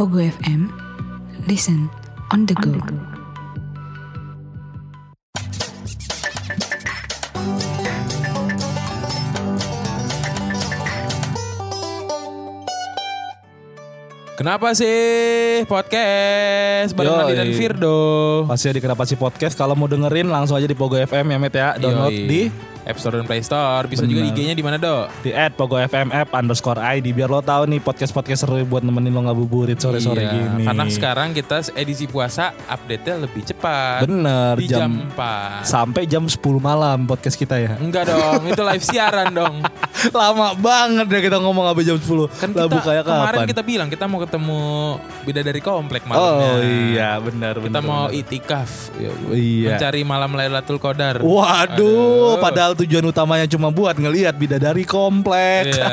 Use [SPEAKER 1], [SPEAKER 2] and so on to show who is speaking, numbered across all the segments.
[SPEAKER 1] Ogo FM. Listen on the go.
[SPEAKER 2] Kenapa sih podcast bareng
[SPEAKER 3] Yoi.
[SPEAKER 2] Nadi dan Firdo?
[SPEAKER 3] Masih di Kenapa Sih Podcast. Kalau mau dengerin langsung aja di Pogo FM ya, Met ya. Download
[SPEAKER 2] Yoi.
[SPEAKER 3] di
[SPEAKER 2] App Store dan Play Store. Bisa juga
[SPEAKER 3] Benar.
[SPEAKER 2] IG-nya di mana, Dok?
[SPEAKER 3] di at Pogo FM app underscore ID. Biar lo tahu nih podcast-podcast seru buat nemenin lo ngabuburit sore-sore
[SPEAKER 2] Iya,
[SPEAKER 3] gini.
[SPEAKER 2] Karena sekarang kita edisi puasa update-nya lebih cepat.
[SPEAKER 3] Bener,
[SPEAKER 2] Di jam,
[SPEAKER 3] jam,
[SPEAKER 2] 4.
[SPEAKER 3] sampai jam 10 malam podcast kita ya.
[SPEAKER 2] Enggak dong, itu live siaran dong.
[SPEAKER 3] Lama banget ya kita ngomong sampai jam 10.
[SPEAKER 2] Kan
[SPEAKER 3] lah
[SPEAKER 2] kita
[SPEAKER 3] bukanya
[SPEAKER 2] kemarin
[SPEAKER 3] kapan?
[SPEAKER 2] kita bilang kita mau ketemu beda dari komplek malamnya.
[SPEAKER 3] oh iya, benar
[SPEAKER 2] Kita
[SPEAKER 3] benar,
[SPEAKER 2] mau
[SPEAKER 3] benar.
[SPEAKER 2] itikaf.
[SPEAKER 3] Iya.
[SPEAKER 2] Mencari malam Lailatul Qadar.
[SPEAKER 3] Waduh,
[SPEAKER 2] Aduh.
[SPEAKER 3] padahal tujuan utamanya cuma buat ngelihat bidadari kompleks.
[SPEAKER 2] Iya.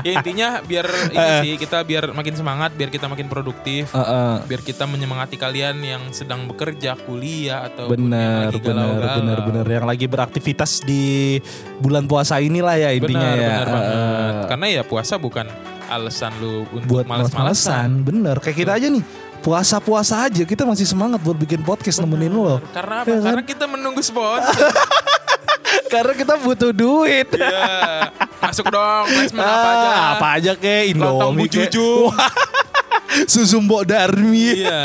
[SPEAKER 2] ya intinya biar ini sih kita biar makin semangat, biar kita makin produktif,
[SPEAKER 3] Heeh.
[SPEAKER 2] biar kita menyemangati kalian yang sedang bekerja, kuliah atau
[SPEAKER 3] Bener, bener, bener, bener. Yang lagi beraktivitas di bulan puasa inilah ya intinya
[SPEAKER 2] Benar,
[SPEAKER 3] ya.
[SPEAKER 2] benar banget.
[SPEAKER 3] Eh,
[SPEAKER 2] Karena ya puasa bukan alasan lu untuk
[SPEAKER 3] buat
[SPEAKER 2] males-malesan.
[SPEAKER 3] males-malesan, bener. Kayak kita aja nih, puasa-puasa aja kita masih semangat buat bikin podcast nemenin lo.
[SPEAKER 2] Karena apa?
[SPEAKER 3] Iya kan?
[SPEAKER 2] Karena kita menunggu sponsor.
[SPEAKER 3] Karena kita butuh duit.
[SPEAKER 2] Iya. Masuk dong placement apa
[SPEAKER 3] Ah,
[SPEAKER 2] aja.
[SPEAKER 3] apa aja kek,
[SPEAKER 2] Lontong Bu
[SPEAKER 3] Indomie kek.
[SPEAKER 2] Juju.
[SPEAKER 3] Susu Mbok Darmi.
[SPEAKER 2] Iya.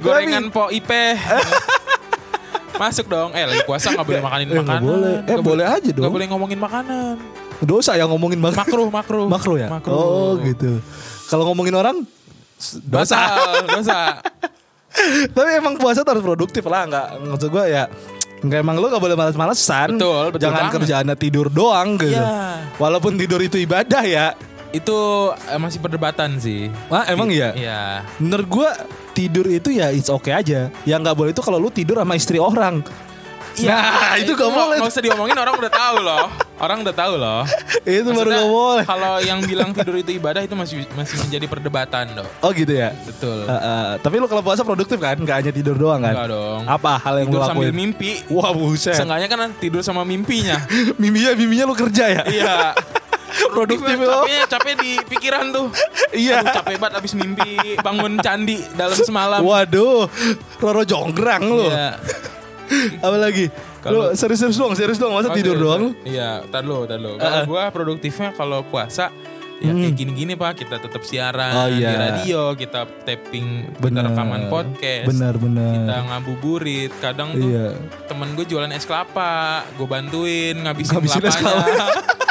[SPEAKER 2] Gorengan po ipe. Masuk dong. Eh lagi puasa nggak boleh makanin
[SPEAKER 3] Eh, nggak
[SPEAKER 2] makanan.
[SPEAKER 3] boleh. Eh,
[SPEAKER 2] Nggak
[SPEAKER 3] boleh aja dong.
[SPEAKER 2] Nggak boleh ngomongin makanan.
[SPEAKER 3] Dosa yang ngomongin mak
[SPEAKER 2] Makruh, makruh.
[SPEAKER 3] makro ya.
[SPEAKER 2] Makruh.
[SPEAKER 3] Oh gitu. Kalau ngomongin orang s- dosa.
[SPEAKER 2] Batal, dosa.
[SPEAKER 3] Tapi emang puasa tuh harus produktif lah nggak maksud gue ya nggak emang lu gak boleh malas-malesan
[SPEAKER 2] Betul, betul
[SPEAKER 3] jangan
[SPEAKER 2] banget.
[SPEAKER 3] kerjaannya tidur doang gitu
[SPEAKER 2] Iya.
[SPEAKER 3] walaupun tidur itu ibadah ya
[SPEAKER 2] Itu eh, masih perdebatan sih.
[SPEAKER 3] Wah, emang iya?
[SPEAKER 2] Iya.
[SPEAKER 3] menurut gue tidur itu ya it's okay aja yang nggak boleh itu kalau lu tidur sama istri orang
[SPEAKER 2] Iya.
[SPEAKER 3] nah itu, gak boleh
[SPEAKER 2] Gak usah diomongin orang udah tahu loh. Orang udah tahu loh.
[SPEAKER 3] itu baru
[SPEAKER 2] Maksudnya,
[SPEAKER 3] gak boleh
[SPEAKER 2] Kalau yang bilang tidur itu ibadah itu masih masih menjadi perdebatan dong.
[SPEAKER 3] oh gitu ya
[SPEAKER 2] Betul.
[SPEAKER 3] Eh, eh, tapi lu kalau puasa produktif kan nggak hanya tidur doang kan
[SPEAKER 2] Nggak dong.
[SPEAKER 3] apa hal yang lu
[SPEAKER 2] tidur sambil
[SPEAKER 3] lakuin
[SPEAKER 2] mimpi.
[SPEAKER 3] wah buset
[SPEAKER 2] Seenggaknya kan tidur sama mimpinya.
[SPEAKER 3] miminya miminya lu kerja ya
[SPEAKER 2] Iya.
[SPEAKER 3] Produktif lo.
[SPEAKER 2] Capeknya capek di pikiran tuh.
[SPEAKER 3] Iya.
[SPEAKER 2] Aduh, capek banget abis mimpi bangun candi dalam semalam.
[SPEAKER 3] waduh roro jonggrang lu
[SPEAKER 2] Iya.
[SPEAKER 3] apa lagi
[SPEAKER 2] Kalau-
[SPEAKER 3] lu serius-serius doang serius doang
[SPEAKER 2] Oh,
[SPEAKER 3] masa tidur
[SPEAKER 2] serius,
[SPEAKER 3] doang lu
[SPEAKER 2] Iya, tar lo, tar lo. Kalau gua produktifnya kalau puasa ya kayak gini-gini Pak, kita tetap siaran
[SPEAKER 3] Hmm. Oh, iya.
[SPEAKER 2] di radio, kita tapping, kita
[SPEAKER 3] Bener.
[SPEAKER 2] rekaman podcast.
[SPEAKER 3] Bener, bener.
[SPEAKER 2] Kita ngabuburit, kadang tuh
[SPEAKER 3] Nah. Iya.
[SPEAKER 2] temen gue jualan es kelapa, gue bantuin ngabisin,
[SPEAKER 3] Ngabisin es
[SPEAKER 2] kelapanya.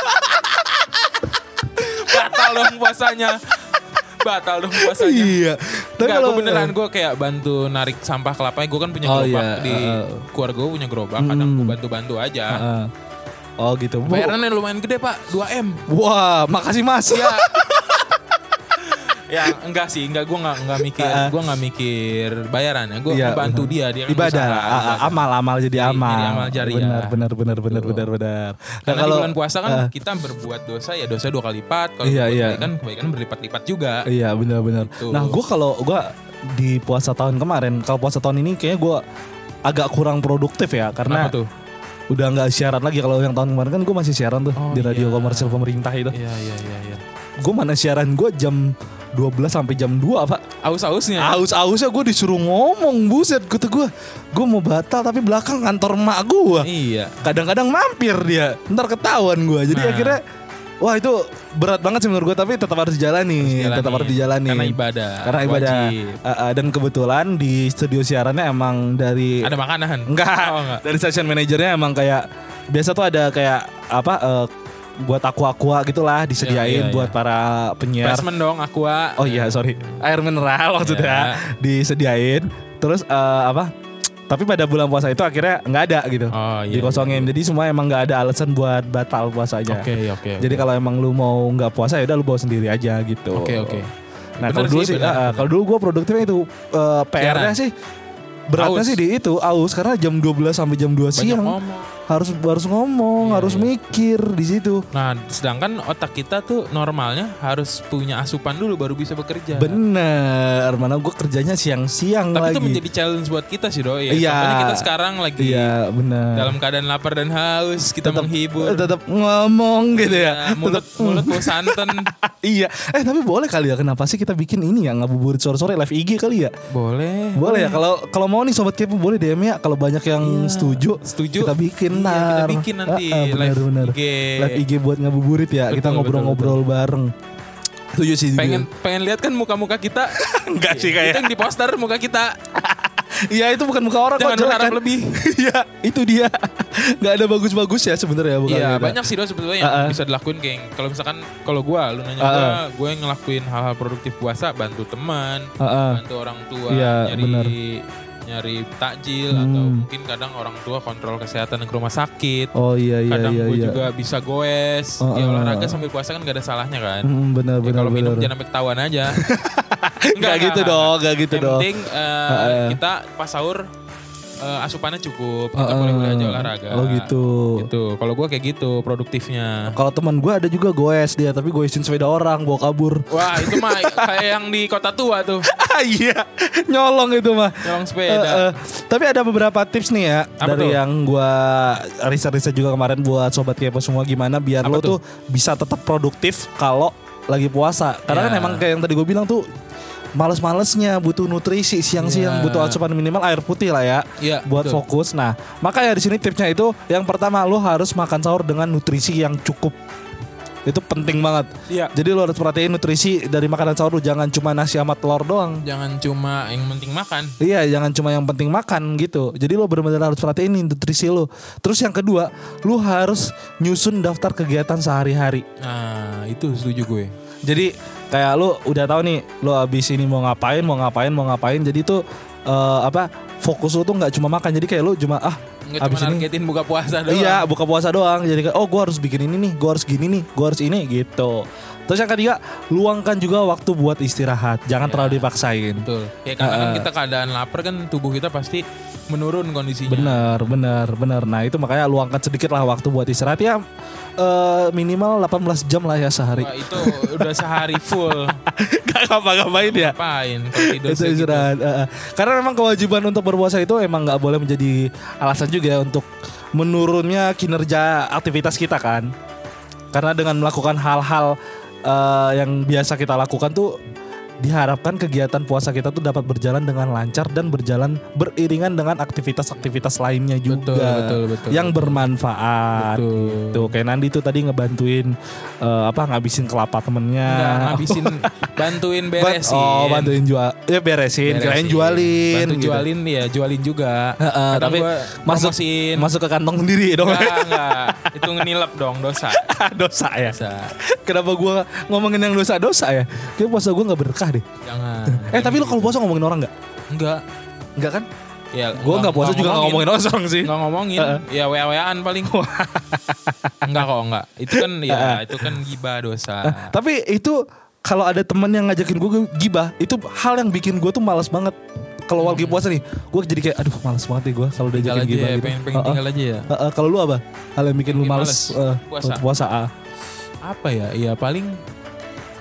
[SPEAKER 2] Batal dong puasanya. Batal dong puasanya.
[SPEAKER 3] iya eh.
[SPEAKER 2] Tapi kalau beneran gue kayak bantu narik sampah kelapanya, gue kan punya
[SPEAKER 3] Oh,
[SPEAKER 2] gerobak
[SPEAKER 3] iya, Hmm.
[SPEAKER 2] di
[SPEAKER 3] heeh.
[SPEAKER 2] keluarga gue punya gerobak, kadang gue bantu-bantu aja.
[SPEAKER 3] Heeh. oh gitu
[SPEAKER 2] Bayarannya lumayan gede pak, 2 m.
[SPEAKER 3] wah makasih mas
[SPEAKER 2] Ya, ya enggak sih, enggak gue enggak enggak mikir,
[SPEAKER 3] Heeh.
[SPEAKER 2] gue enggak mikir bayarannya, gue
[SPEAKER 3] Eh, Iya,
[SPEAKER 2] bantu dia,
[SPEAKER 3] bener.
[SPEAKER 2] dia kan
[SPEAKER 3] ibadah
[SPEAKER 2] usaha,
[SPEAKER 3] ah, ah,
[SPEAKER 2] usaha.
[SPEAKER 3] amal amal jadi
[SPEAKER 2] Jadi-
[SPEAKER 3] amal
[SPEAKER 2] jadi amal jariah.
[SPEAKER 3] benar benar benar benar benar benar nah
[SPEAKER 2] Karena
[SPEAKER 3] kalau
[SPEAKER 2] di bulan puasa kan
[SPEAKER 3] ah,
[SPEAKER 2] kita berbuat dosa ya dosa dua kali lipat, kalau
[SPEAKER 3] Iya,
[SPEAKER 2] berbuat
[SPEAKER 3] iya.
[SPEAKER 2] kebaikan kebaikan berlipat-lipat juga.
[SPEAKER 3] iya benar benar
[SPEAKER 2] Gitu.
[SPEAKER 3] nah gue kalau gue di puasa tahun kemarin kalau puasa tahun ini kayaknya gue agak kurang produktif ya
[SPEAKER 2] Kenapa
[SPEAKER 3] karena
[SPEAKER 2] tuh?
[SPEAKER 3] udah nggak siaran lagi kalau yang tahun kemarin kan gue masih siaran tuh
[SPEAKER 2] Oh,
[SPEAKER 3] di
[SPEAKER 2] iya.
[SPEAKER 3] radio komersil pemerintah itu
[SPEAKER 2] Iya iya iya iya.
[SPEAKER 3] gue mana siaran gue jam 12 sampai jam 2 pak
[SPEAKER 2] Aus-ausnya.
[SPEAKER 3] Aus-ausnya gue disuruh ngomong Buset kata gue Gue mau batal tapi belakang kantor mak gue
[SPEAKER 2] Iya.
[SPEAKER 3] Kadang-kadang mampir dia Ntar ketahuan gue Jadi
[SPEAKER 2] Nah.
[SPEAKER 3] akhirnya Wah itu berat banget sih menurut gue Tapi tetap harus dijalani
[SPEAKER 2] dijalanin.
[SPEAKER 3] Iya, Tetap harus dijalani
[SPEAKER 2] Karena ibadah,
[SPEAKER 3] Karena ibadah
[SPEAKER 2] wajib.
[SPEAKER 3] Eh, eh, Dan kebetulan di studio siarannya emang dari
[SPEAKER 2] Ada makanan?
[SPEAKER 3] Enggak,
[SPEAKER 2] Oh, enggak.
[SPEAKER 3] Dari station manajernya emang kayak Biasa tuh ada kayak Apa eh, Buat aqua-aqua
[SPEAKER 2] Iya,
[SPEAKER 3] gitulah
[SPEAKER 2] iya,
[SPEAKER 3] Disediain
[SPEAKER 2] iya.
[SPEAKER 3] buat para penyiar
[SPEAKER 2] Basement dong, aqua.
[SPEAKER 3] Oh iya sorry air mineral
[SPEAKER 2] Iya.
[SPEAKER 3] maksudnya disediain terus eh, apa tapi pada bulan puasa itu akhirnya nggak ada gitu
[SPEAKER 2] Oh, iya,
[SPEAKER 3] dikosongin jadi semua emang nggak ada alasan buat batal puasanya
[SPEAKER 2] Oke, iya. oke.
[SPEAKER 3] iya. jadi kalau emang lu mau nggak puasa ya udah lu bawa sendiri aja gitu
[SPEAKER 2] Oke, oke.
[SPEAKER 3] nah
[SPEAKER 2] Bener
[SPEAKER 3] kalau dulu
[SPEAKER 2] sih,
[SPEAKER 3] sih
[SPEAKER 2] bener,
[SPEAKER 3] eh, eh,
[SPEAKER 2] bener.
[SPEAKER 3] kalau dulu gue produktifnya itu eh, PR-nya
[SPEAKER 2] Siaran.
[SPEAKER 3] sih beratnya
[SPEAKER 2] Aus.
[SPEAKER 3] sih di itu aus karena jam 12 sampai jam 2
[SPEAKER 2] banyak
[SPEAKER 3] siang
[SPEAKER 2] ngomong.
[SPEAKER 3] harus harus ngomong,
[SPEAKER 2] Iya,
[SPEAKER 3] harus
[SPEAKER 2] iya.
[SPEAKER 3] mikir di situ.
[SPEAKER 2] Nah, sedangkan otak kita tuh normalnya harus punya asupan dulu baru bisa bekerja.
[SPEAKER 3] Bener, mana gue kerjanya siang-siang
[SPEAKER 2] Tapi
[SPEAKER 3] lagi.
[SPEAKER 2] itu menjadi challenge buat kita sih, Doi.
[SPEAKER 3] Iya.
[SPEAKER 2] Contohnya kita sekarang lagi
[SPEAKER 3] Iya, benar.
[SPEAKER 2] dalam keadaan lapar dan haus, kita menghibur.
[SPEAKER 3] tetap ngomong gitu ya.
[SPEAKER 2] Nah, mulut
[SPEAKER 3] Tetap-
[SPEAKER 2] mulut bau santan.
[SPEAKER 3] Iya. Eh tapi boleh kali ya kenapa sih kita bikin ini ya ngabuburit sore-sore live IG kali ya?
[SPEAKER 2] Boleh.
[SPEAKER 3] Boleh ya kalau kalau mau nih sobat kepo boleh DM ya kalau banyak yang
[SPEAKER 2] Iya,
[SPEAKER 3] setuju.
[SPEAKER 2] setuju.
[SPEAKER 3] Kita bikin
[SPEAKER 2] Iya, kita
[SPEAKER 3] ntar.
[SPEAKER 2] bikin nanti
[SPEAKER 3] Ah, ah, bener,
[SPEAKER 2] live
[SPEAKER 3] bener.
[SPEAKER 2] IG.
[SPEAKER 3] Live IG buat ngabuburit ya.
[SPEAKER 2] Betul,
[SPEAKER 3] kita ngobrol-ngobrol bareng. Setuju sih juga.
[SPEAKER 2] Pengen pengen lihat kan muka-muka kita.
[SPEAKER 3] Enggak
[SPEAKER 2] Itu
[SPEAKER 3] sih kayak.
[SPEAKER 2] yang di poster muka kita.
[SPEAKER 3] Iya itu bukan muka orang
[SPEAKER 2] Jangan
[SPEAKER 3] kok jelek
[SPEAKER 2] berharap
[SPEAKER 3] kan.
[SPEAKER 2] lebih.
[SPEAKER 3] Iya, itu dia. Nggak ada bagus-bagus ya sebenarnya bukan.
[SPEAKER 2] Iya
[SPEAKER 3] beda.
[SPEAKER 2] banyak sih doa sebetulnya yang
[SPEAKER 3] Ah, ah.
[SPEAKER 2] bisa dilakuin geng. Kalau misalkan kalau gua lu nanya
[SPEAKER 3] Ah,
[SPEAKER 2] gua, gua yang ngelakuin hal-hal produktif puasa, bantu teman,
[SPEAKER 3] Ah, ah.
[SPEAKER 2] bantu orang tua,
[SPEAKER 3] Iya,
[SPEAKER 2] nyari
[SPEAKER 3] benar.
[SPEAKER 2] nyari takjil atau
[SPEAKER 3] Hmm.
[SPEAKER 2] mungkin kadang orang tua kontrol kesehatan ke rumah sakit.
[SPEAKER 3] Oh iya iya
[SPEAKER 2] kadang
[SPEAKER 3] iya
[SPEAKER 2] gua
[SPEAKER 3] iya.
[SPEAKER 2] juga bisa goes,
[SPEAKER 3] Ah,
[SPEAKER 2] ya
[SPEAKER 3] ah.
[SPEAKER 2] olahraga sambil puasa kan gak ada salahnya kan.
[SPEAKER 3] Mm, benar
[SPEAKER 2] Ya,
[SPEAKER 3] benar
[SPEAKER 2] kalau minum
[SPEAKER 3] benar.
[SPEAKER 2] jangan sampai ketahuan aja.
[SPEAKER 3] Nggak gitu dong, nggak gitu
[SPEAKER 2] Yang
[SPEAKER 3] dong.
[SPEAKER 2] penting eh,
[SPEAKER 3] Ah, ah.
[SPEAKER 2] kita pas sahur eh, asupannya cukup,
[SPEAKER 3] Ah,
[SPEAKER 2] kita
[SPEAKER 3] ah.
[SPEAKER 2] boleh-boleh aja olahraga.
[SPEAKER 3] Oh gitu.
[SPEAKER 2] Gitu. Kalau gua kayak gitu produktifnya.
[SPEAKER 3] Kalau teman gue ada juga goes dia, tapi goesin sepeda orang, bawa kabur.
[SPEAKER 2] Wah, itu mah kayak yang di kota tua tuh,
[SPEAKER 3] Ah, iya, nyolong itu mah.
[SPEAKER 2] nyolong
[SPEAKER 3] Eh, eh,
[SPEAKER 2] sepeda.
[SPEAKER 3] tapi ada beberapa tips nih ya
[SPEAKER 2] Apa
[SPEAKER 3] dari
[SPEAKER 2] tuh?
[SPEAKER 3] yang gua riset-riset juga kemarin buat sobat kepo semua gimana biar
[SPEAKER 2] Apa
[SPEAKER 3] lo tuh?
[SPEAKER 2] tuh?
[SPEAKER 3] bisa tetap produktif kalau lagi puasa. Karena kan
[SPEAKER 2] Ya.
[SPEAKER 3] emang kayak yang tadi gue bilang tuh males-malesnya butuh nutrisi
[SPEAKER 2] Ya.
[SPEAKER 3] siang-siang butuh asupan minimal air putih lah ya
[SPEAKER 2] Iya,
[SPEAKER 3] buat
[SPEAKER 2] betul.
[SPEAKER 3] fokus. Nah, maka ya di sini tipsnya itu yang pertama lo harus makan sahur dengan nutrisi yang cukup. Itu penting banget.
[SPEAKER 2] Iya.
[SPEAKER 3] Jadi lo harus perhatiin nutrisi dari makanan sahur lo jangan cuma nasi sama telur doang.
[SPEAKER 2] Jangan cuma yang penting makan.
[SPEAKER 3] Iya, jangan cuma yang penting makan gitu. Jadi lo benar-benar harus perhatiin nih nutrisi lo. Terus yang kedua, lo harus nyusun daftar kegiatan sehari-hari.
[SPEAKER 2] Nah, itu setuju gue.
[SPEAKER 3] Jadi kayak lo udah tahu nih, lo abis ini mau ngapain, mau ngapain, mau ngapain. Jadi tuh eh, apa? Fokus lo tuh nggak cuma makan. Jadi kayak lo cuma ah
[SPEAKER 2] Enggak
[SPEAKER 3] abis
[SPEAKER 2] cuma
[SPEAKER 3] ini.
[SPEAKER 2] nargetin buka puasa doang.
[SPEAKER 3] Iya, buka puasa doang. Jadi kayak oh gue harus bikin ini nih, gue harus gini nih, gue harus ini gitu. Terus yang ketiga, luangkan juga waktu buat istirahat. Jangan
[SPEAKER 2] Iya.
[SPEAKER 3] terlalu dipaksain.
[SPEAKER 2] Betul. Ya karena kan
[SPEAKER 3] Ah, ah.
[SPEAKER 2] kita keadaan lapar kan tubuh kita pasti menurun kondisinya.
[SPEAKER 3] Bener, bener, bener. Nah itu makanya luangkan sedikit lah waktu buat istirahat ya. eh, minimal 18 jam lah ya sehari.
[SPEAKER 2] Wah, itu udah sehari full.
[SPEAKER 3] Gak ngapa-ngapain ya.
[SPEAKER 2] Ngapain kalau tidur
[SPEAKER 3] Itu
[SPEAKER 2] segitu?
[SPEAKER 3] istirahat. eh, eh. Karena memang kewajiban untuk berpuasa itu emang nggak boleh menjadi alasan juga untuk menurunnya kinerja aktivitas kita kan. Karena dengan melakukan hal-hal eh, yang biasa kita lakukan tuh diharapkan kegiatan puasa kita tuh dapat berjalan dengan lancar dan berjalan beriringan dengan aktivitas-aktivitas lainnya juga.
[SPEAKER 2] Betul, betul, betul.
[SPEAKER 3] yang bermanfaat.
[SPEAKER 2] Betul.
[SPEAKER 3] Tuh kayak Nandi tuh tadi ngebantuin eh, apa ngabisin kelapa temennya.
[SPEAKER 2] Enggak ngabisin bantuin beresin.
[SPEAKER 3] Oh bantuin jual, ya beresin, kirain
[SPEAKER 2] Beresin.
[SPEAKER 3] jualin.
[SPEAKER 2] Bantu
[SPEAKER 3] gitu.
[SPEAKER 2] jualin ya, jualin juga.
[SPEAKER 3] Heeh,
[SPEAKER 2] Kadang
[SPEAKER 3] tapi
[SPEAKER 2] gua
[SPEAKER 3] masuk
[SPEAKER 2] promosiin.
[SPEAKER 3] masuk ke kantong sendiri dong.
[SPEAKER 2] Enggak, enggak. Itu ngenilep dong dosa.
[SPEAKER 3] dosa ya.
[SPEAKER 2] Dosa.
[SPEAKER 3] Kenapa gua ngomongin yang dosa-dosa ya? Kayak puasa gua nggak berkah deh.
[SPEAKER 2] Jangan.
[SPEAKER 3] Eh tapi lo kalau puasa ngomongin orang nggak?
[SPEAKER 2] enggak.
[SPEAKER 3] Nggak kan?
[SPEAKER 2] Ya,
[SPEAKER 3] Gua nggak puasa juga nggak ngomongin orang sih.
[SPEAKER 2] Enggak ngomongin.
[SPEAKER 3] Heeh.
[SPEAKER 2] Ya wa-waan paling. enggak kok, enggak. Itu kan ya, itu kan gibah dosa.
[SPEAKER 3] Tapi itu kalau ada teman yang ngajakin gue gibah, itu hal yang bikin gue tuh malas banget. Kalau lagi puasa nih, gue jadi kayak aduh malas banget nih gue kalau udah
[SPEAKER 2] Tinggal
[SPEAKER 3] jadi
[SPEAKER 2] Hmm. aja
[SPEAKER 3] gibah.
[SPEAKER 2] ya,
[SPEAKER 3] gitu.
[SPEAKER 2] pengen pengen
[SPEAKER 3] Heeh.
[SPEAKER 2] tinggal aja ya.
[SPEAKER 3] Heeh, kalau lu apa? Hal yang bikin lu
[SPEAKER 2] Bikin
[SPEAKER 3] malas
[SPEAKER 2] males.
[SPEAKER 3] eh,
[SPEAKER 2] Puasa.
[SPEAKER 3] untuk puasa. ah.
[SPEAKER 2] Apa ya? Ya paling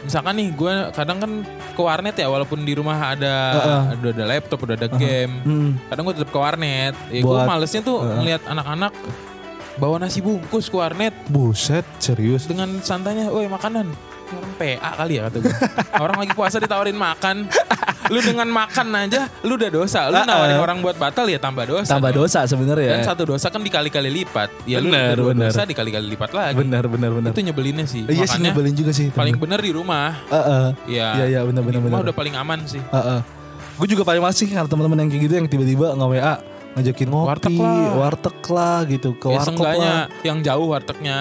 [SPEAKER 2] misalkan nih gue kadang kan ke warnet ya walaupun di rumah ada
[SPEAKER 3] Heeh.
[SPEAKER 2] udah ada laptop, udah ada game.
[SPEAKER 3] Hmm.
[SPEAKER 2] kadang gue tetap ke warnet ya gue
[SPEAKER 3] Buat-
[SPEAKER 2] malesnya tuh
[SPEAKER 3] Heeh.
[SPEAKER 2] ngeliat anak-anak bawa nasi bungkus ke warnet
[SPEAKER 3] Buset, serius.
[SPEAKER 2] dengan santainya woi makanan Ini orang PA kali ya kata gue orang lagi puasa ditawarin makan lu dengan makan aja lu udah dosa lu
[SPEAKER 3] Heeh.
[SPEAKER 2] nawarin orang buat batal ya tambah dosa
[SPEAKER 3] Tambah dosa
[SPEAKER 2] dan
[SPEAKER 3] sebenarnya. ya.
[SPEAKER 2] satu dosa kan dikali-kali lipat ya lu
[SPEAKER 3] Bener,
[SPEAKER 2] dua
[SPEAKER 3] bener.
[SPEAKER 2] dosa dikali-kali lipat lagi
[SPEAKER 3] Benar, benar, benar.
[SPEAKER 2] itu nyebelinnya sih
[SPEAKER 3] Iya sih
[SPEAKER 2] makanya
[SPEAKER 3] nyebelin juga sih.
[SPEAKER 2] paling bener di rumah
[SPEAKER 3] Heeh.
[SPEAKER 2] ya
[SPEAKER 3] Iya, iya, benar,
[SPEAKER 2] di
[SPEAKER 3] benar,
[SPEAKER 2] rumah
[SPEAKER 3] benar.
[SPEAKER 2] udah paling aman sih
[SPEAKER 3] Heeh. Gue juga paling masih kalau teman-teman yang kayak gitu yang tiba-tiba nge WA ngajakin ngopi,
[SPEAKER 2] Warteg lah.
[SPEAKER 3] warteg lah gitu, ke
[SPEAKER 2] ya
[SPEAKER 3] warkop
[SPEAKER 2] seenggaknya
[SPEAKER 3] lah.
[SPEAKER 2] yang jauh wartegnya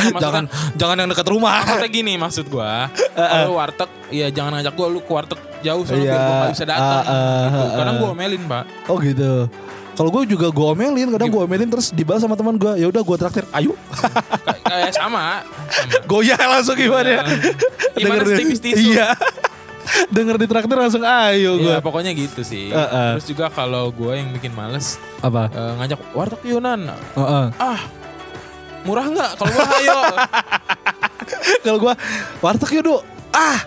[SPEAKER 2] Maksudnya-
[SPEAKER 3] Jangan jangan yang dekat rumah.
[SPEAKER 2] maksudnya gini maksud gua kalau warteg ya jangan ngajak gua lu ke warteg jauh soalnya
[SPEAKER 3] Iya.
[SPEAKER 2] biar gua gak bisa datang
[SPEAKER 3] Ah, ah,
[SPEAKER 2] gitu.
[SPEAKER 3] ah,
[SPEAKER 2] kadang
[SPEAKER 3] ah.
[SPEAKER 2] gua omelin pak
[SPEAKER 3] Oh gitu. Kalau gue juga gue omelin, kadang gue omelin terus dibalas sama teman gue. Ya udah gue traktir, ayo.
[SPEAKER 2] Kay- kayak sama, sama. Iya.
[SPEAKER 3] Goyah langsung gimana?
[SPEAKER 2] Gimana
[SPEAKER 3] Denger-
[SPEAKER 2] setipis tisu?
[SPEAKER 3] Iya. Dengar di traktir langsung ayo gue.
[SPEAKER 2] Iya pokoknya gitu sih.
[SPEAKER 3] Heeh.
[SPEAKER 2] Terus juga kalau gue yang bikin males
[SPEAKER 3] Apa?
[SPEAKER 2] eh, ngajak warteg Yunan.
[SPEAKER 3] Heeh.
[SPEAKER 2] Ah murah nggak? Kalau murah ayo.
[SPEAKER 3] Kalau gue warteg yuk Du. Ah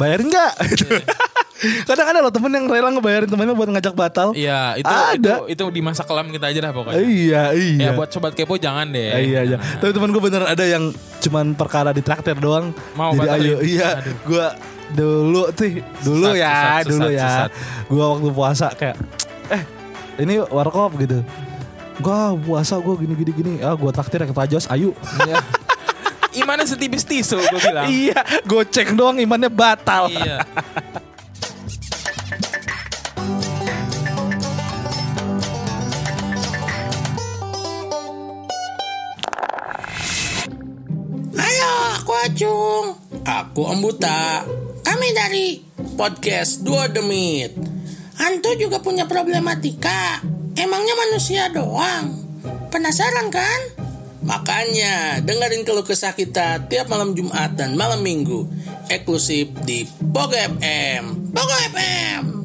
[SPEAKER 3] bayarin nggak? Kadang ada loh temen yang rela ngebayarin temennya buat ngajak batal.
[SPEAKER 2] Iya itu, itu
[SPEAKER 3] Ada.
[SPEAKER 2] itu di masa kelam kita aja lah pokoknya.
[SPEAKER 3] Iya
[SPEAKER 2] Ya
[SPEAKER 3] iya.
[SPEAKER 2] buat sobat kepo jangan deh.
[SPEAKER 3] Eh, iya iya.
[SPEAKER 2] Nah,
[SPEAKER 3] Tapi teman gue bener ada yang cuman perkara di traktir doang.
[SPEAKER 2] Mau
[SPEAKER 3] Jadi
[SPEAKER 2] batalin.
[SPEAKER 3] ayo iya.
[SPEAKER 2] Aduh.
[SPEAKER 3] Gue dulu sih dulu
[SPEAKER 2] Sesat,
[SPEAKER 3] ya
[SPEAKER 2] sesat,
[SPEAKER 3] dulu
[SPEAKER 2] sesat,
[SPEAKER 3] ya.
[SPEAKER 2] sesat.
[SPEAKER 3] Gue waktu puasa kayak eh ini warkop gitu. Gue puasa gue gini gini gini. Ah gue traktir yang tajos ayo.
[SPEAKER 2] iya. Imannya setipis tisu gue bilang.
[SPEAKER 3] iya. Gue cek doang imannya batal.
[SPEAKER 2] iya.
[SPEAKER 4] Halo, aku Acung. Aku Embuta. Kami dari podcast Dua Demit. Hantu juga punya problematika. Emangnya manusia doang? Penasaran kan? Makanya dengerin keluh kesah kita tiap malam Jumat dan malam Minggu eksklusif di Pogo FM. Pogo FM.